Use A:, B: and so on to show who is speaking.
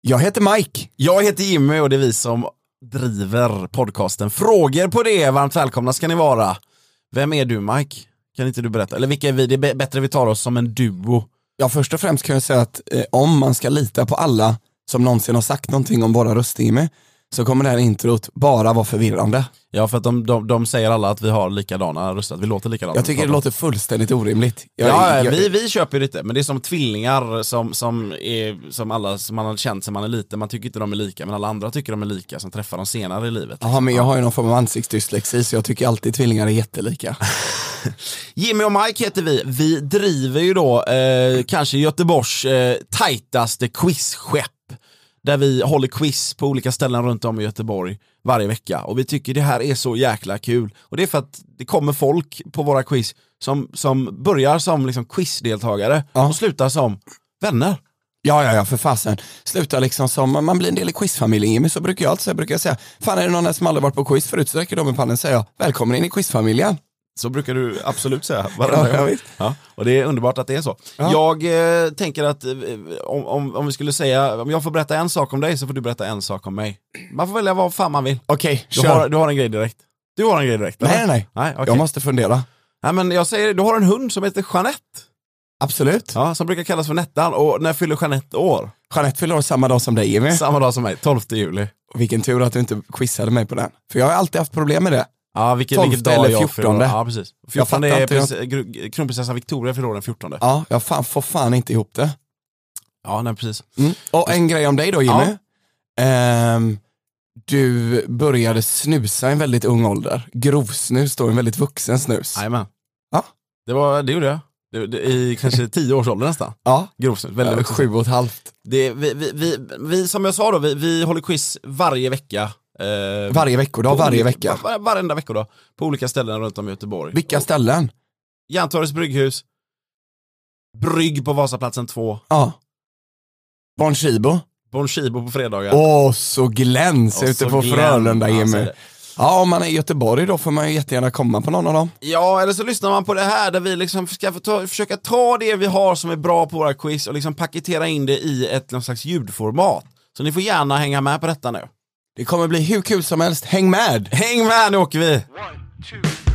A: Jag heter Mike.
B: Jag heter Jimmy och det är vi som driver podcasten. Frågor på det, varmt välkomna ska ni vara. Vem är du Mike? Kan inte du berätta? Eller vilka är vi? Det är bä- bättre vi tar oss som en duo.
A: Ja, först och främst kan jag säga att eh, om man ska lita på alla som någonsin har sagt någonting om våra rösttimme så kommer det här introt bara vara förvirrande.
B: Ja, för att de, de, de säger alla att vi har likadana röster, att vi låter likadana.
A: Jag tycker det låter fullständigt orimligt. Jag,
B: Ja,
A: jag,
B: vi, vi köper ju inte, men det är som tvillingar som, som, är, som alla som man har känt sedan man är liten, man tycker inte de är lika, men alla andra tycker de är lika som träffar dem senare i livet.
A: Jaha, men jag har ju någon form av ansiktsdyslexi så jag tycker alltid tvillingar är jättelika.
B: Jimmy och Mike heter vi. Vi driver ju då eh, kanske Göteborgs eh, tajtaste quizskepp. Där vi håller quiz på olika ställen runt om i Göteborg varje vecka. Och vi tycker det här är så jäkla kul. Och det är för att det kommer folk på våra quiz som, som börjar som liksom quizdeltagare
A: Ja.
B: och slutar som vänner.
A: Ja, ja, ja, för fasen. Sluta liksom som, man blir en del i quizfamiljen Jimmy, så brukar jag alltid säga, brukar jag säga, fan är det någon här som aldrig varit på quiz förut så räcker de i pannan säger jag, välkommen in i quizfamiljen.
B: Så brukar du absolut säga
A: Ja,
B: varenda
A: ja,
B: gång.
A: visst.
B: Ja, och det är underbart att det är så.
A: Ja.
B: Jag eh, tänker att eh, om, om, om vi skulle säga, om jag får berätta en sak om dig så får du berätta en sak om mig. Man får välja vad fan man vill.
A: Okej,
B: Du,
A: kör.
B: har, du har en grej direkt. Du har en grej direkt.
A: Nej, nej,
B: eller?
A: nej.
B: nej okej.
A: Jag måste fundera.
B: nej men jag säger, du har en hund som heter Jeanette.
A: Absolut.
B: Ja, som brukar kallas för Nettan och när fyller Jeanette år?
A: Jeanette fyller år samma dag som dig Jimmy.
B: Samma dag som mig, 12 juli.
A: Vilken tur att du inte quizade mig på den. För jag har alltid haft problem med det.
B: Ja, vilken,
A: 12
B: vilken dag
A: eller
B: jag fyller år.
A: 14.
B: Ja, precis. 14
A: fattar
B: är
A: inte, jag-
B: prins, gr- kronprinsessa Victoria fyller år den 14. Ja,
A: Ja, jag fan, får fan inte ihop det.
B: ja nej, precis.
A: Mm. Och en grej om dig då Jimmy. Ehm, du började snusa i en väldigt ung ålder. Grovsnus då, en väldigt vuxen snus.
B: Jajamän.
A: Ja.
B: Det, var, det gjorde jag. Det, det, I kanske tio års ålder nästan.
A: Ja,
B: Grovsnitt. Väldigt
A: eh,
B: vuxen.
A: sju och ett halvt.
B: det, vi, vi, vi, vi, Som jag sa då, vi, vi håller quiz varje vecka. Eh,
A: Varje veckodag,
B: på
A: varje
B: olika-
A: vecka.
B: Var, varenda veckodag. På olika ställen runt om i Göteborg.
A: Vilka ställen?
B: Järntorgets brygghus. Brygg på Vasaplatsen 2.
A: Ja. Bon Chibo.
B: Bon Chibo på fredagar.
A: Åh, så gläns
B: Och
A: ute
B: så
A: på
B: Glenn,
A: Frölunda
B: alltså
A: Jimmy.
B: det.
A: Ja, om man är i Göteborg då får man ju jättegärna komma på någon av dem.
B: Ja, eller så lyssnar man på det här där vi liksom ska få ta, försöka ta det vi har som är bra på våra quiz och liksom paketera in det i ett någon slags ljudformat. Så ni får gärna hänga med på detta nu.
A: Det kommer bli hur kul som helst, häng med!
B: Häng med, nu åker vi!
C: One, two,